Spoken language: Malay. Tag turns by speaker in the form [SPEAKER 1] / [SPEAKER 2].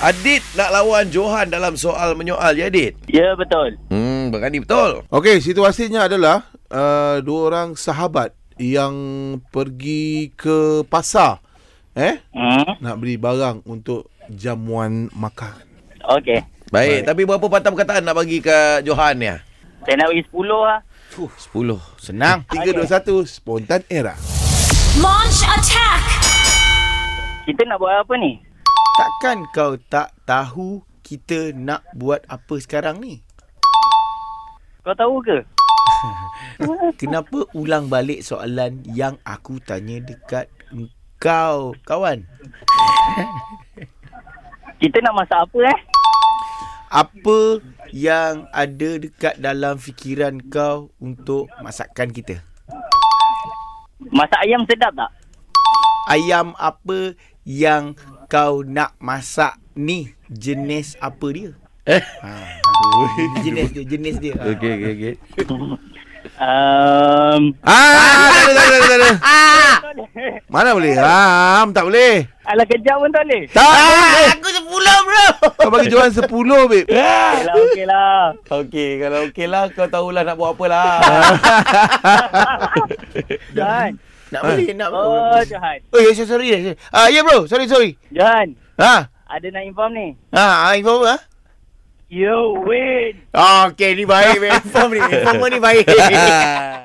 [SPEAKER 1] Adit nak lawan Johan dalam soal menyoal ya Adit?
[SPEAKER 2] Ya betul.
[SPEAKER 1] Hmm, berani betul.
[SPEAKER 3] Okey, situasinya adalah uh, dua orang sahabat yang pergi ke pasar eh
[SPEAKER 2] Hmm.
[SPEAKER 3] nak beli barang untuk jamuan makan.
[SPEAKER 2] Okey.
[SPEAKER 1] Baik, Baik, tapi berapa patah perkataan nak bagi ke Johan ya?
[SPEAKER 2] Saya nak bagi 10 lah.
[SPEAKER 1] 10. Senang.
[SPEAKER 3] 321 spontan era.
[SPEAKER 4] Launch attack!
[SPEAKER 2] Kita nak buat apa ni?
[SPEAKER 5] Takkan kau tak tahu kita nak buat apa sekarang ni?
[SPEAKER 2] Kau tahu ke?
[SPEAKER 5] Kenapa ulang balik soalan yang aku tanya dekat kau, kawan?
[SPEAKER 2] Kita nak masak apa eh?
[SPEAKER 5] Apa yang ada dekat dalam fikiran kau untuk masakan kita?
[SPEAKER 2] Masak ayam sedap tak?
[SPEAKER 5] Ayam apa yang kau nak masak ni? Jenis apa dia?
[SPEAKER 1] Eh?
[SPEAKER 5] Ha, jenis dia, jenis dia. Ha.
[SPEAKER 1] Okey, okey, okey.
[SPEAKER 2] Um,
[SPEAKER 3] Ah, tak ada, tak ada, tak ada. Mana boleh? Ram, tak boleh.
[SPEAKER 2] ala kejap pun tak boleh.
[SPEAKER 3] Tak boleh. Ah, Aku 10 bro. Kau bagi Johan 10 babe. Eh,
[SPEAKER 2] Okey lah, okey lah.
[SPEAKER 1] Okey, kalau okey lah kau tahulah nak buat apa lah.
[SPEAKER 2] Johan.
[SPEAKER 5] Nak boleh, nak
[SPEAKER 2] Oh,
[SPEAKER 5] boleh.
[SPEAKER 2] Johan.
[SPEAKER 5] Oh, yeah, sorry. Ah, yeah. Uh,
[SPEAKER 3] ya,
[SPEAKER 5] yeah, bro. Sorry, sorry.
[SPEAKER 2] Johan.
[SPEAKER 3] Ah,
[SPEAKER 5] Ha.
[SPEAKER 2] Ada nak inform ni.
[SPEAKER 5] Ha, info apa?
[SPEAKER 2] You win.
[SPEAKER 5] Ah, okey, ni baik. Inform ni. Inform ni baik.